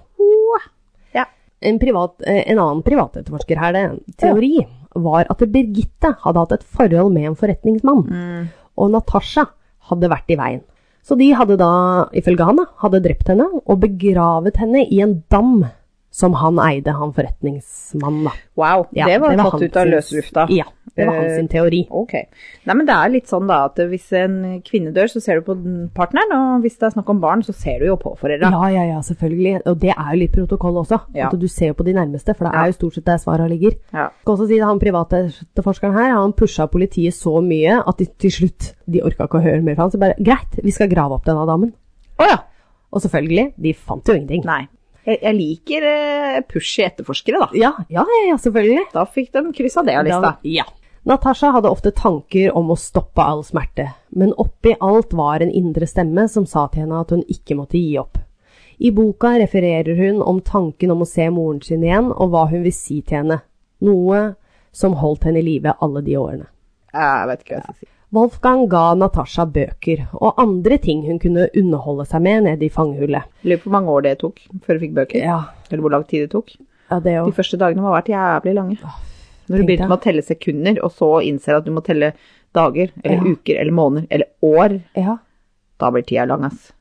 Ja.
en, privat, eh, en annen privatetterforsker her, det er en teori, var at Birgitte hadde hatt et forhold med en forretningsmann,
Mm.
og Natasha hadde vært i veien. Så de hadde da, ifølge han, da, hadde drept henne og begravet henne i en dam som han eide, han forretningsmannen. Da.
Wow,
Ja,
det var,
han
tatt ut av
sin-
løs lufta.
Ja, det var hans
Eh,
sin teori.
Ok. Nei, men det er litt sånn da at hvis en kvinne dør, så ser du på den partneren, og hvis det er snakk om barn, så ser du jo på foreldra.
Ja, ja, ja, selvfølgelig. Og det er jo litt protokoll også.
Ja.
At du ser jo på de nærmeste, for det
Ja.
er jo stort sett der svarene ligger.
Ja.
Jeg skal også si at han privatetterforskeren her, han pusha politiet så mye at de til slutt de orka ikke å høre mer fra han, så bare greit, vi skal grave opp denne damen.
Å ja.
Og selvfølgelig, de fant jo ingenting.
Nei. Jeg, jeg liker eh, pushy etterforskere, da.
Ja, ja, ja, ja, selvfølgelig.
Da fikk de kryssa det av lista.
Da- ja. Natasha hadde ofte tanker om å stoppe all smerte, men oppi alt var en indre stemme som sa til henne at hun ikke måtte gi opp. I boka refererer hun om tanken om å se moren sin igjen, og hva hun vil si til henne, noe som holdt henne i live alle de årene.
Jeg vet ikke hva jeg skal si.
Wolfgang ga Natasha bøker og andre ting hun kunne underholde seg med nede i fangehullet.
Lurer på hvor mange år det tok før du fikk bøker.
Ja,
Eller hvor lang tid det tok.
ja det
De
òg.
første dagene må ha vært jævlig lange. Når du
tenk
begynte
deg.
med å telle sekunder, og så innser at du må telle dager, eller
Ja.
uker, eller måneder, eller år,
Ja,
da blir tida lang, ass.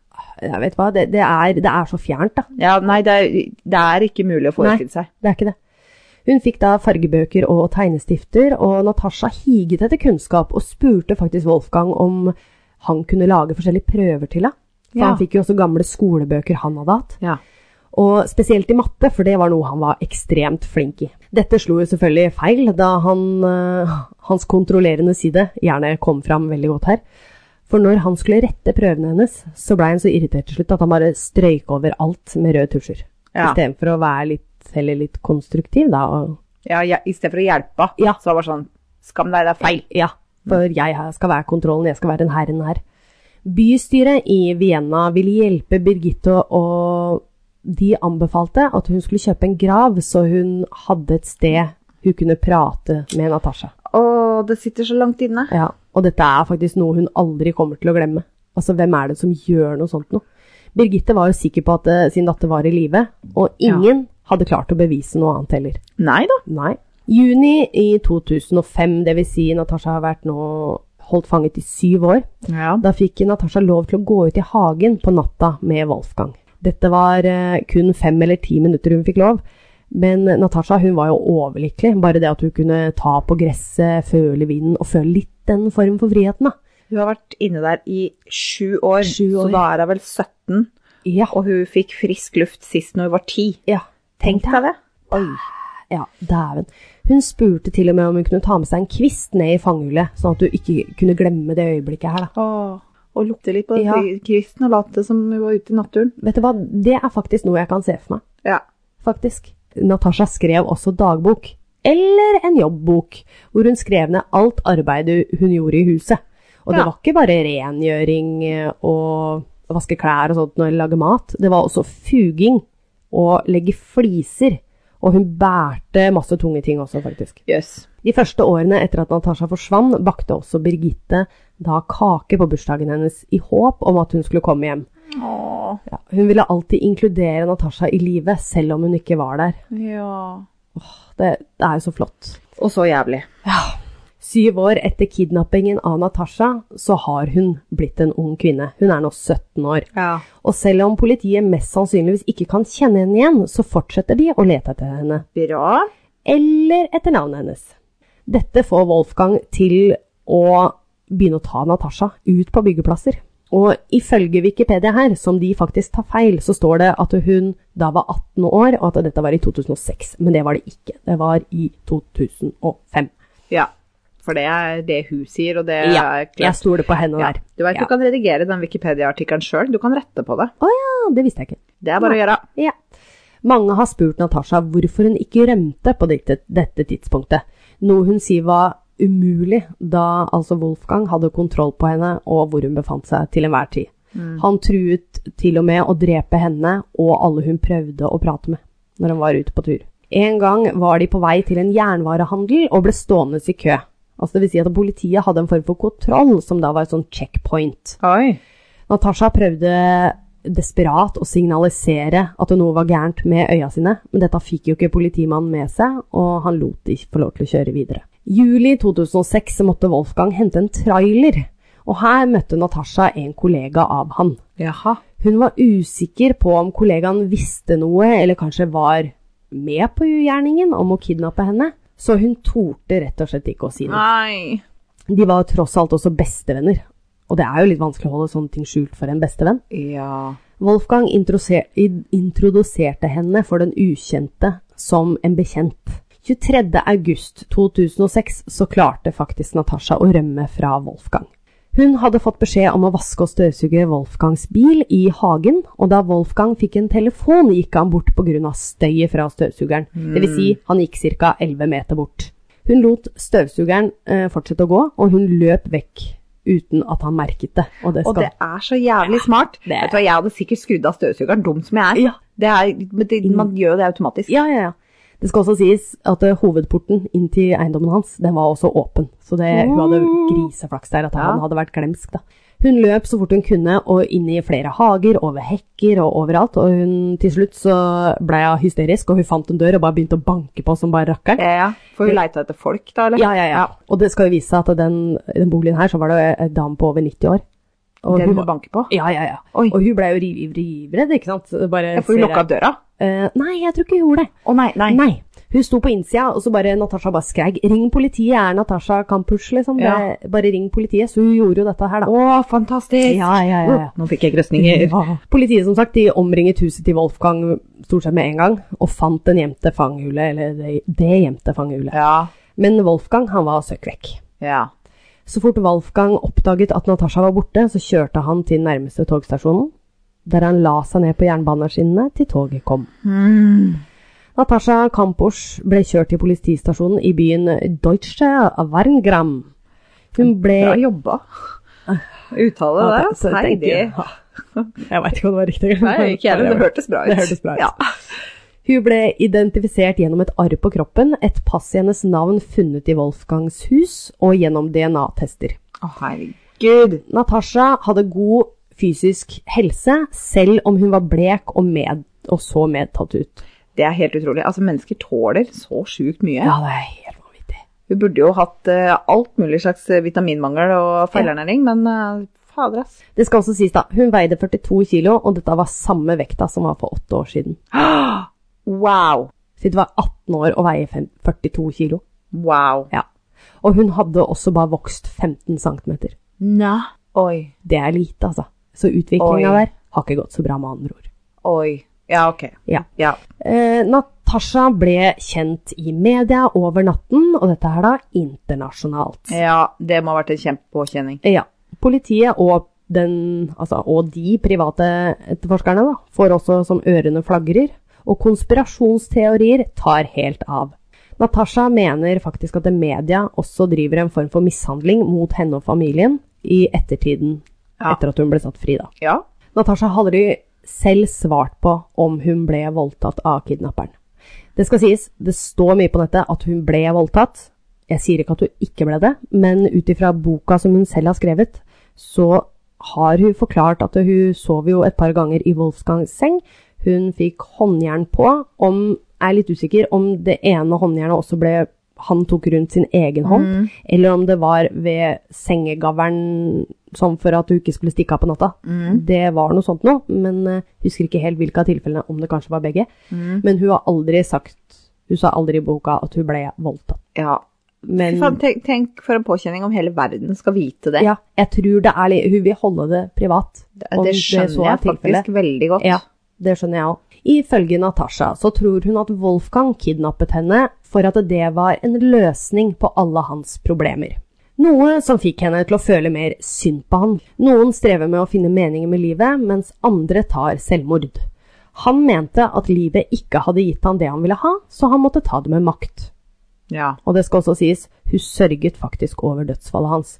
jeg vet hva, det, det, er, det er så fjernt, da.
Ja, nei, det er, det er ikke mulig å forestille seg.
Det er ikke det. Hun fikk da fargebøker og tegnestifter, og Natasha higet etter kunnskap og spurte faktisk Wolfgang om han kunne lage forskjellige prøver til henne. For
Ja.
Han fikk jo også gamle skolebøker han hadde hatt,
Ja.
og spesielt i matte, for det var noe han var ekstremt flink i. Dette slo jo selvfølgelig feil, da han, eh, hans kontrollerende side gjerne kom fram veldig godt her. For når han skulle rette prøvene hennes, så ble han så irritert til slutt at han bare strøyk over alt med røde tusjer.
Ja.
Istedenfor å være litt, heller litt konstruktiv, da. Og,
Ja, ja, I stedet for å hjelpe,
Ja.
så var det sånn Skam deg, det er feil.
ja, for jeg her skal være kontrollen, jeg skal være den herren her. Bystyret i Vienna ville hjelpe Birgitte, og de anbefalte at hun skulle kjøpe en grav, så hun hadde et sted hun kunne prate med Natasha.
Å, det sitter så langt inne.
Ja, og dette er faktisk noe hun aldri kommer til å glemme. Altså, hvem er det som gjør noe sånt nå? Birgitte var jo sikker på at eh, sin datter var i live, og ingen hadde klart å bevise noe annet heller.
Nei da.
Nei. Juni i 2005, dvs. Si Natasha har vært nå holdt fanget i syv år,
Ja.
da fikk Natasha lov til å gå ut i hagen på natta med Wolfgang. Dette var eh, kun fem eller ti minutter hun fikk lov, men Natasha hun var jo overlykkelig. Bare det at hun kunne ta på gresset, føle vinden og føle litt den form for friheten, da.
Hun har vært inne der i sju år,
Sju år.
så da er hun vel 17.
Ja.
Og hun fikk frisk luft sist når hun var 10.
ja.
Tenk deg det. Oi.
Ja, dæven. Hun spurte til og med om hun kunne ta med seg en kvist ned i fangehullet, sånn at du ikke kunne glemme det øyeblikket her, da.
Åh, og lukte litt på
Ja.
den kristen og late som hun var ute i naturen.
Vet du hva, det er faktisk noe jeg kan se for meg.
Ja.
faktisk. Natasha skrev også dagbok, eller en jobbbok, hvor hun skrev ned alt arbeidet hun gjorde i huset. Og det
Ja.
var ikke bare rengjøring eh, og vaske klær og sånt når hun lage mat, det var også fuging og legge fliser. Og hun bærte masse tunge ting også, faktisk.
Jøss.
De første årene etter at Natasha forsvann, bakte også Birgitte da kake på bursdagen hennes i håp om at hun skulle komme hjem.
Åh,
Ja, hun ville alltid inkludere Natasha i livet, selv om hun ikke var der.
ja.
Det, det er jo så flott.
Og så jævlig.
Syv år etter kidnappingen av Natasha, så har hun blitt en ung kvinne. Hun er nå 17 år.
Ja.
Og selv om politiet mest sannsynligvis ikke kan kjenne henne igjen, så fortsetter de å lete etter henne.
Bra.
Eller etter navnet hennes. Dette får Wolfgang til å begynne å ta Natasha ut på byggeplasser. Og ifølge Wikipedia her, som de faktisk tar feil, så står det at hun da var 18 år, og at dette var i 2006. Men det var det ikke. Det var i 2005.
Ja. For det er det hun sier, og det
Ja,
er
jeg
klart.
stoler på henne
Ja.
der.
Du vet
Ja.
du kan redigere den Wikipedia-artikkelen sjøl. Du kan rette på det.
Å ja, det visste jeg ikke.
Det er bare å gjøre.
Ja. Mange har spurt Natasha hvorfor hun ikke rømte på dette, dette tidspunktet, noe hun sier var umulig da altså Wolfgang hadde kontroll på henne og hvor hun befant seg til enhver tid. Han truet til og med å drepe henne og alle hun prøvde å prate med når han var ute på tur. En gang var de på vei til en jernvarehandel og ble stående i kø. Altså det vil si at politiet hadde en form for kontroll, som da var et sånn checkpoint.
Oi.
Natasha prøvde desperat å signalisere at noe var gærent med øya sine, men dette fikk jo ikke politimannen med seg, og han lot de ikke få lov til å kjøre videre. Juli 2006 så måtte Wolfgang hente en trailer, og her møtte Natasha en kollega av han.
Jaha.
Hun var usikker på om kollegaen visste noe, eller kanskje var med på ugjerningen om å kidnappe henne, så hun torde rett og slett ikke å si noe.
Nei.
De var tross alt også bestevenner, og det er jo litt vanskelig å holde sånne ting skjult for en bestevenn.
Ja.
Wolfgang introduser- i- introduserte henne for den ukjente som en bekjent. 23. august 2006 så klarte faktisk Natasha å rømme fra Wolfgang. Hun hadde fått beskjed om å vaske og støvsuge Wolfgangs bil i hagen, og da Wolfgang fikk en telefon, gikk han bort pga. støyet fra støvsugeren. Det vil si, han gikk ca. 11 meter bort. Hun lot støvsugeren eh, fortsette å gå, og hun løp vekk uten at han merket det. Og det
Og
skal
det er så jævlig smart.
det-
Vet du hva, Jeg hadde sikkert skrudd av støvsugeren, dum som jeg er.
Ja.
Det er men det, man gjør jo det automatisk.
Ja, ja, ja. Det skal også sies at eh, hovedporten inn til eiendommen hans, den var også åpen. Så det, hun hadde griseflaks der, at
Ja.
han hadde vært glemsk, da. Hun løp så fort hun kunne, og inn i flere hager, over hekker og overalt. Og hun, til slutt så ble hun hysterisk, og hun fant en dør og bare begynte å banke på som bare rakkeren.
Ja, ja. For hun leita etter folk, da? eller?
Ja, ja, ja. Og det skal jo vise seg at den, den boligen her, så var det en dame på over 90 år. Og
Den
hun
hun
var-
banker på?
Ja, ja, ja.
Oi.
Og hun ble jo riv- rivredd, ikke sant? Bare
Ja, for hun
ser
lukka
jeg-
opp døra?
Eh, nei, jeg tror ikke hun gjorde det.
Å nei, nei.
Nei. Hun sto på innsida, og så bare Natasha bare skrek 'ring politiet', er Natasha Kampusch, liksom.
Ja.
Det, bare ring politiet. Så hun gjorde jo dette her, da.
Å, fantastisk!
Ja, ja, ja, ja.
Nå fikk jeg grøsninger.
Ja. Politiet som sagt, de omringet huset til Wolfgang stort sett med en gang, og fant den gjemte fangehullet, eller det, det gjemte fangehullet.
Ja.
Men Wolfgang han var søkk vekk.
ja.
Så fort Wolfgang oppdaget at Natasha var borte, så kjørte han til nærmeste togstasjonen, der han la seg ned på jernbaneskinnene til toget kom. Hmm. Natasha Kampusch ble kjørt til politistasjonen i byen Deutsche Werngram. Hun ble
Bra jobba. Uttale
Så
det. altså.
tenkte
Heidi.
jeg- Ja. [laughs] Jeg veit ikke om det var riktig.
Nei, ikke jeg, men det hørtes bra ut.
Det hørtes bra ut.
Ja.
Hun ble identifisert gjennom et arr på kroppen, et pass i hennes navn funnet i Wolfgangs hus, og gjennom DNA-tester.
Å, herregud.
Natasha hadde god fysisk helse, selv om hun var blek og, med, og så medtatt ut.
Det er helt utrolig. Altså, mennesker tåler så sjukt mye.
Ja, det er helt vanvittig.
Hun burde jo hatt eh, alt mulig slags eh, vitaminmangel og feilernæring, men eh, fader, ass.
Det skal også sies, da. Hun veide 42 kilo, og dette var samme vekta som var for åtte år siden.
Wow.
Så det var 18 år og veier fem- 42 kilo.
Wow.
Ja. Og hun hadde også bare vokst 15 cm.
Nei. Oi.
Det er lite, altså. Så
Oi.
utviklinga der har ikke gått så bra, med andre ord.
Oi. Ja, ok.
Ja.
Ja.
Eh, Natasha ble kjent i media over natten, og dette her da internasjonalt.
ja, det må ha vært en kjempepåkjenning.
Ja. Politiet og, den, altså, og de private etterforskerne da, får også som ørene flagrer, og konspirasjonsteorier tar helt av. Natasha mener faktisk at media også driver en form for mishandling mot henne og familien i ettertiden,
Ja.
etter at hun ble satt fri. Da.
Ja.
Natasha har aldri selv svart på om hun ble voldtatt av kidnapperen. Det skal sies, det står mye på nettet at hun ble voldtatt. Jeg sier ikke at hun ikke ble det, men ut ifra boka som hun selv har skrevet, så har hun forklart at hun sov jo et par ganger i Wolfgangs seng. Hun fikk håndjern på, om er litt usikker om det ene håndjernet også ble han tok rundt sin egen hånd,
Mm.
eller om det var ved sengegavlen sånn for at hun ikke skulle stikke av på natta.
Mm.
Det var noe sånt noe, men eh, husker ikke helt hvilke av tilfellene, om det kanskje var begge.
Mm.
Men hun har aldri sagt, hun sa aldri i boka at hun ble voldtatt.
ja.
Men
Faen, tenk, tenk for en påkjenning om hele verden skal vite det.
Mm. ja, jeg tror det er litt, hun vil holde det privat.
det,
om
det
så er
skjønner jeg
tilfellet.
faktisk veldig godt.
Ja, det skjønner jeg òg. Ifølge Natasha så tror hun at Wolfgang kidnappet henne for at det var en løsning på alle hans problemer. Noe som fikk henne til å føle mer synd på han. Noen strever med å finne meningen med livet, mens andre tar selvmord. Han mente at livet ikke hadde gitt han det han ville ha, så han måtte ta det med makt.
Ja.
Og det skal også sies, hun sørget faktisk over dødsfallet hans.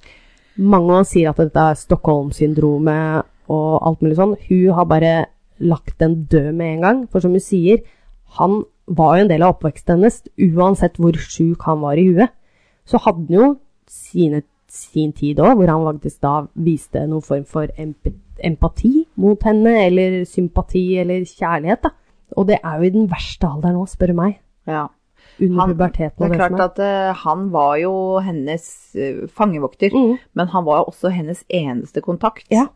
Mange sier at dette er Stockholm-syndromet og alt mulig sånn. Hun har bare lagt den død med en gang, for som hun sier, han var jo en del av oppveksten hennes, uansett hvor sjuk han var i huet. Så hadde han jo sine, sin tid òg, hvor han faktisk da viste noen form for emp empati mot henne, eller sympati, eller kjærlighet, da. Og det er jo i den verste alderen òg, spør du meg.
ja.
Under
Han-
puberteten og
Det er
det, som
klart at eh, han var jo hennes eh, fangevokter,
Mhm.
men han var jo også hennes eneste kontakt.
Ja,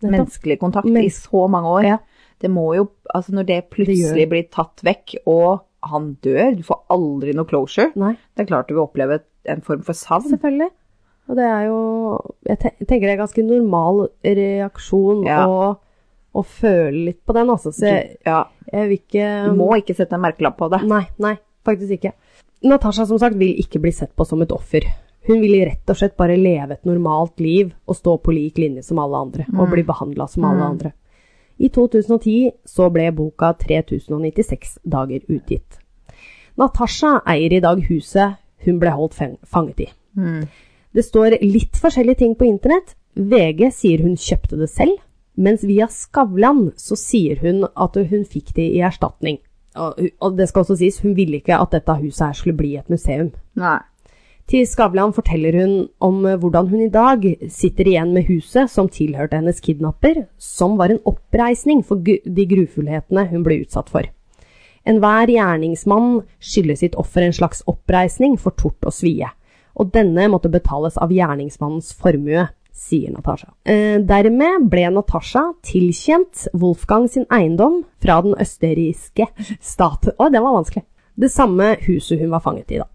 nettopp.
Menneskelig kontakt
Men-
i så mange år. Det må jo, altså når det plutselig
Det gjør-
blir tatt vekk, og han dør, du får aldri noe closure,
Nei.
det er klart du vil oppleve et- en form for savn.
Selvfølgelig. Og det er jo Jeg te- jeg tenker det er ganske normal reaksjon
Ja.
å, å føle litt på den, altså. Så jeg,
Ja,
jeg vil ikke
du må ikke sette en merkelapp på det.
Nei, nei, faktisk ikke. Natasha som sagt vil ikke bli sett på som et offer. Hun ville rett og slett bare leve et normalt liv og stå på lik linje som alle andre,
Mm.
og bli behandla som alle andre. I 2010 så ble boka 3096 dager utgitt. Natasha eier i dag huset hun ble holdt fen- fanget i. Det står litt forskjellige ting på internett. VG sier hun kjøpte det selv, mens via Skavlan så sier hun at hun fikk det i erstatning. Og, og det skal også sies, hun ville ikke at dette huset her skulle bli et museum.
Nei.
Til Skavlan forteller hun om eh, hvordan hun i dag sitter igjen med huset som tilhørte hennes kidnapper, som var en oppreisning for gu- de grufullhetene hun ble utsatt for. Enhver gjerningsmann skylder sitt offer en slags oppreisning for tort og svie, og denne måtte betales av gjerningsmannens formue, sier Natasha. Eh, dermed ble Natasha tilkjent Wolfgang sin eiendom fra den østerrikske stat. Å, den var vanskelig. Det samme huset hun var fanget i, da.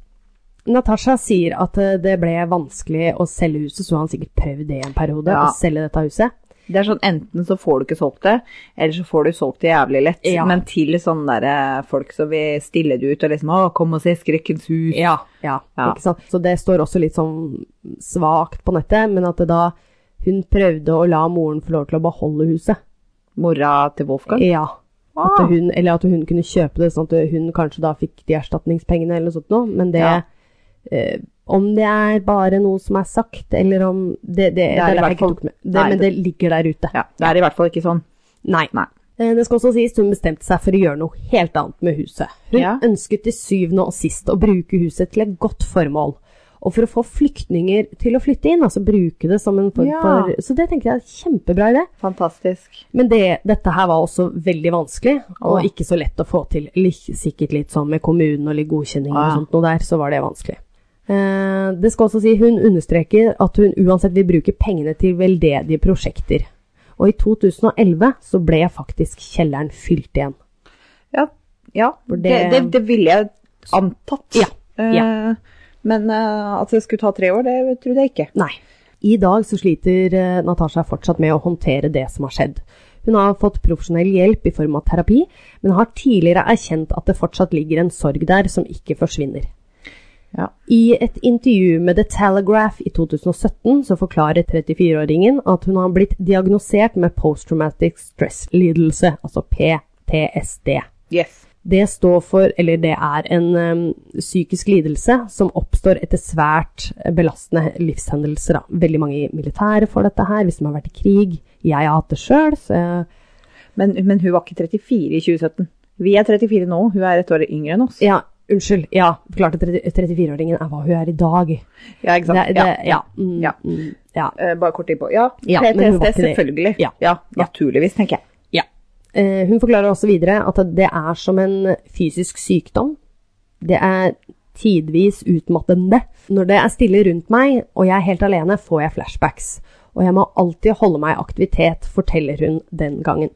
Natasha sier at eh, det ble vanskelig å selge huset, så han sikkert prøvd det i en periode,
Ja.
å selge dette huset.
Det er sånn, Enten så får du ikke solgt det, eller så får du solgt det jævlig lett.
Ja.
Men til sånne der, eh, folk som vil stille det ut og liksom 'Å, kom og se Skrekkens hus'.
Ja, ja,
Ja.
ikke sant? Så det står også litt sånn svagt på nettet, men at det da hun prøvde å la moren få lov til å beholde huset.
Mora til Wolfgang.
Ja. At
Ah.
hun, eller at hun kunne kjøpe det, sånn at hun kanskje da fikk de erstatningspengene eller noe sånt noe, men det
Ja.
eh, om det er bare noe som er sagt, eller om Det, det, det,
i
er derfor
hvert
jeg
fall-
ikke tok med. Det,
Nei,
men det ligger der ute.
Ja, Det er i hvert fall ikke sånn.
Nei.
Nei.
Eh, Det skal også sies hun bestemte seg for å gjøre noe helt annet med huset. Hun
Ja.
ønsket til syvende og sist å bruke huset til et godt formål. Og for å få flyktninger til å flytte inn, altså bruke det som en form
Ja.
for Så det tenker jeg er kjempebra idé.
Fantastisk.
Men det, dette her var også veldig vanskelig, og
Åh.
ikke så lett å få til. Lik- Sikkert litt sånn med kommunen og litt godkjenning
Åh, ja.
og sånt noe der, så var det vanskelig. Eh, det skal også si hun understreker at hun uansett vil bruke pengene til veldedige prosjekter. Og i 2011 så ble faktisk kjelleren fylt igjen.
Ja, ja.
For
Det,
det-
det, det, ville jeg antatt.
Ja,
Eh, Men eh, at det skulle ta tre år, det trodde jeg ikke.
Nei. I dag så sliter eh, Natasha fortsatt med å håndtere det som har skjedd. Hun har fått profesjonell hjelp i form av terapi, men har tidligere erkjent at det fortsatt ligger en sorg der som ikke forsvinner.
Ja.
I et intervju med The Telegraph i 2017 så forklarer 34-åringen at hun har blitt diagnosert med posttraumatic stress-lidelse, altså PTSD.
Yes.
Det står for, eller det er en øhm, psykisk lidelse som oppstår etter svært belastende livshendelser. Da. Veldig mange i militæret får dette her, hvis de har vært i krig. Jeg har hatt det sjøl, så jeg,
Men, men hun var ikke 34 i 2017. Vi er 34 nå, hun er et år yngre enn oss.
ja, unnskyld. Ja, klart at 30 34-åringen er hva hun er i dag.
Ja,
Det,
ikke sant?
det,
ja.
ja. Mm,
Ja.
mm, ja.
Eh, bare kort innpå. Ja,
Ja, men hun var
PTSD,
ikke det.
selvfølgelig.
Ja.
naturligvis, tenker jeg.
Ja. Eh, hun forklarer også videre at det er som en fysisk sykdom. Det er tidvis utmattende. Når det er stille rundt meg og jeg er helt alene, får jeg flashbacks. Og jeg må alltid holde meg i aktivitet, forteller hun den gangen.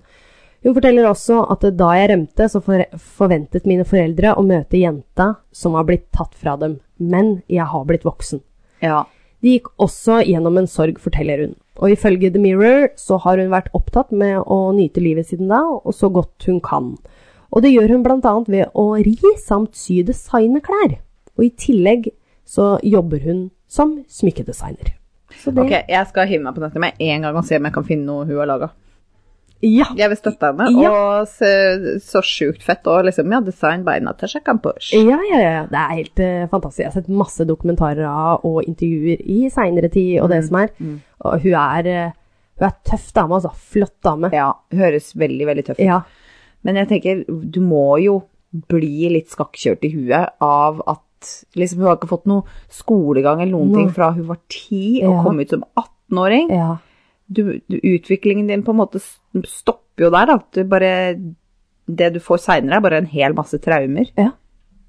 Hun forteller også at da jeg rømte, så for forventet mine foreldre å møte jenta som har blitt tatt fra dem. Men jeg har blitt voksen.
Ja.
De gikk også gjennom en sorg, forteller hun. Og ifølge The Mirror så har hun vært opptatt med å nyte livet siden da, og så godt hun kan. Og det gjør hun bl.a. ved å ri samt sy designerklær. Og i tillegg så jobber hun som smykkedesigner. Så det
Ok, jeg skal hive meg på nettet med en gang og se om jeg kan finne noe hun har laga.
Ja!
Jeg vil støtte henne.
Ja.
Og så, så sjukt fett. Og liksom, ja, design by Natasha Kampush.
Ja, ja, ja. Det er helt eh, fantastisk. Jeg har sett masse dokumentarer av og intervjuer i seinere tid og det som er. Og hun er, eh, hun er tøff dame, altså. Flott dame.
Ja, høres veldig, veldig tøff ut.
Ja.
Men jeg tenker, du må jo bli litt skakkjørt i huet av at liksom, hun har ikke fått noe skolegang eller noen ting fra hun var ti og
Ja.
kom ut som 18-åring.
ja.
Du, du, utviklingen din på en måte s- stopper jo der. da. At du bare, det du får seinere, er bare en hel masse traumer.
Ja.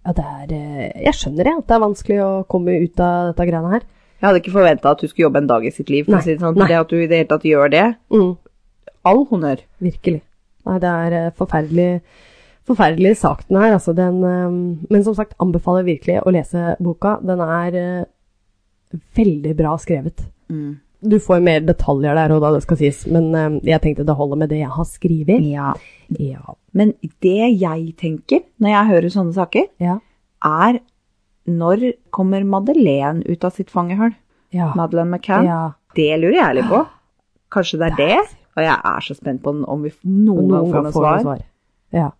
ja det er, eh, jeg skjønner det, at det er vanskelig å komme ut av dette greiene her.
Jeg hadde ikke forventa at du skulle jobbe en dag i sitt liv. For
Nei,
å si det, sånn.
nei.
det at du i det hele tatt gjør det,
Mm,
all honnør.
virkelig. Nei, det er eh, forferdelig, forferdelig sak den her. Altså, den, eh, men som sagt, anbefaler jeg virkelig å lese boka. Den er eh, veldig bra skrevet. Du får mer detaljer der og da, det skal sies, men eh, jeg tenkte det holder med det jeg har skrevet.
Ja.
Ja.
Men det jeg tenker når jeg hører sånne saker,
Ja.
er Når kommer Madeleine ut av sitt fangehull?
Ja.
Madeleine McCann?
ja.
Det lurer jeg litt på. Kanskje det er det? Og jeg er så spent på den, om vi f- noen gang får noe svar.
Ja,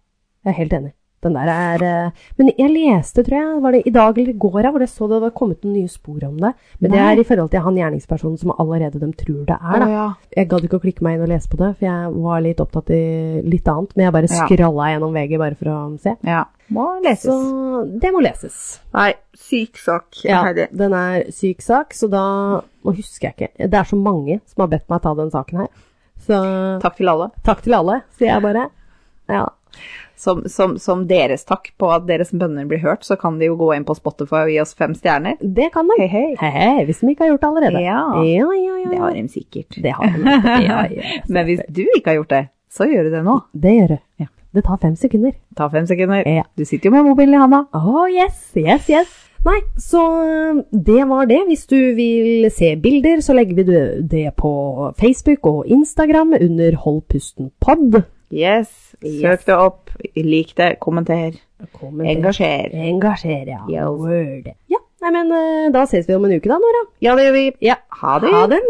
jeg er helt enig. Den der er eh, Men jeg leste, tror jeg, var det i dag eller i går, jeg, hvor jeg så det var kommet noen nye spor om det. Men det
Nei.
er i forhold til han gjerningspersonen som allerede de tror det er,
Å
da.
ja.
Jeg gadd ikke å klikke meg inn og lese på det, for jeg var litt opptatt i litt annet. Men jeg bare
Ja.
skralla gjennom VG bare for å se.
ja. Må leses.
Så det må leses.
Nei, syk sak. Heidi.
den er syk sak, så da Nå husker jeg ikke. Det er så mange som har bedt meg ta den saken her. Så
Takk til alle.
takk til alle, sier jeg bare. Ja.
Som, som, som deres takk på at deres bønner blir hørt, så kan de jo gå inn på Spotify og gi oss fem stjerner.
Det kan de.
Hei, hei.
Hei, hei, hvis de ikke har gjort det allerede.
Ja.
ja, ja. ja,
Det
ja.
har de sikkert.
Det har [laughs] de. Ja, ja.
Men hvis du ikke har gjort det, så gjør du det nå.
Det gjør det.
Ja.
Det tar fem sekunder.
Ta fem sekunder.
Ja.
Du sitter jo med mobilen i handa.
Oh, yes, yes, yes. Nei, så øhm, det var det. Hvis du vil se bilder, så legger vi det- det på Facebook og Instagram under Hold pusten pod.
Yes. Søk det opp. Lik det. Kommenter. Engasjer.
Engasjer, ja.
Yes.
Word. Ja, nei, men øh, da ses vi om en uke da, Nora.
Ja, det gjør vi.
Ja.
Ha det.
Ha det.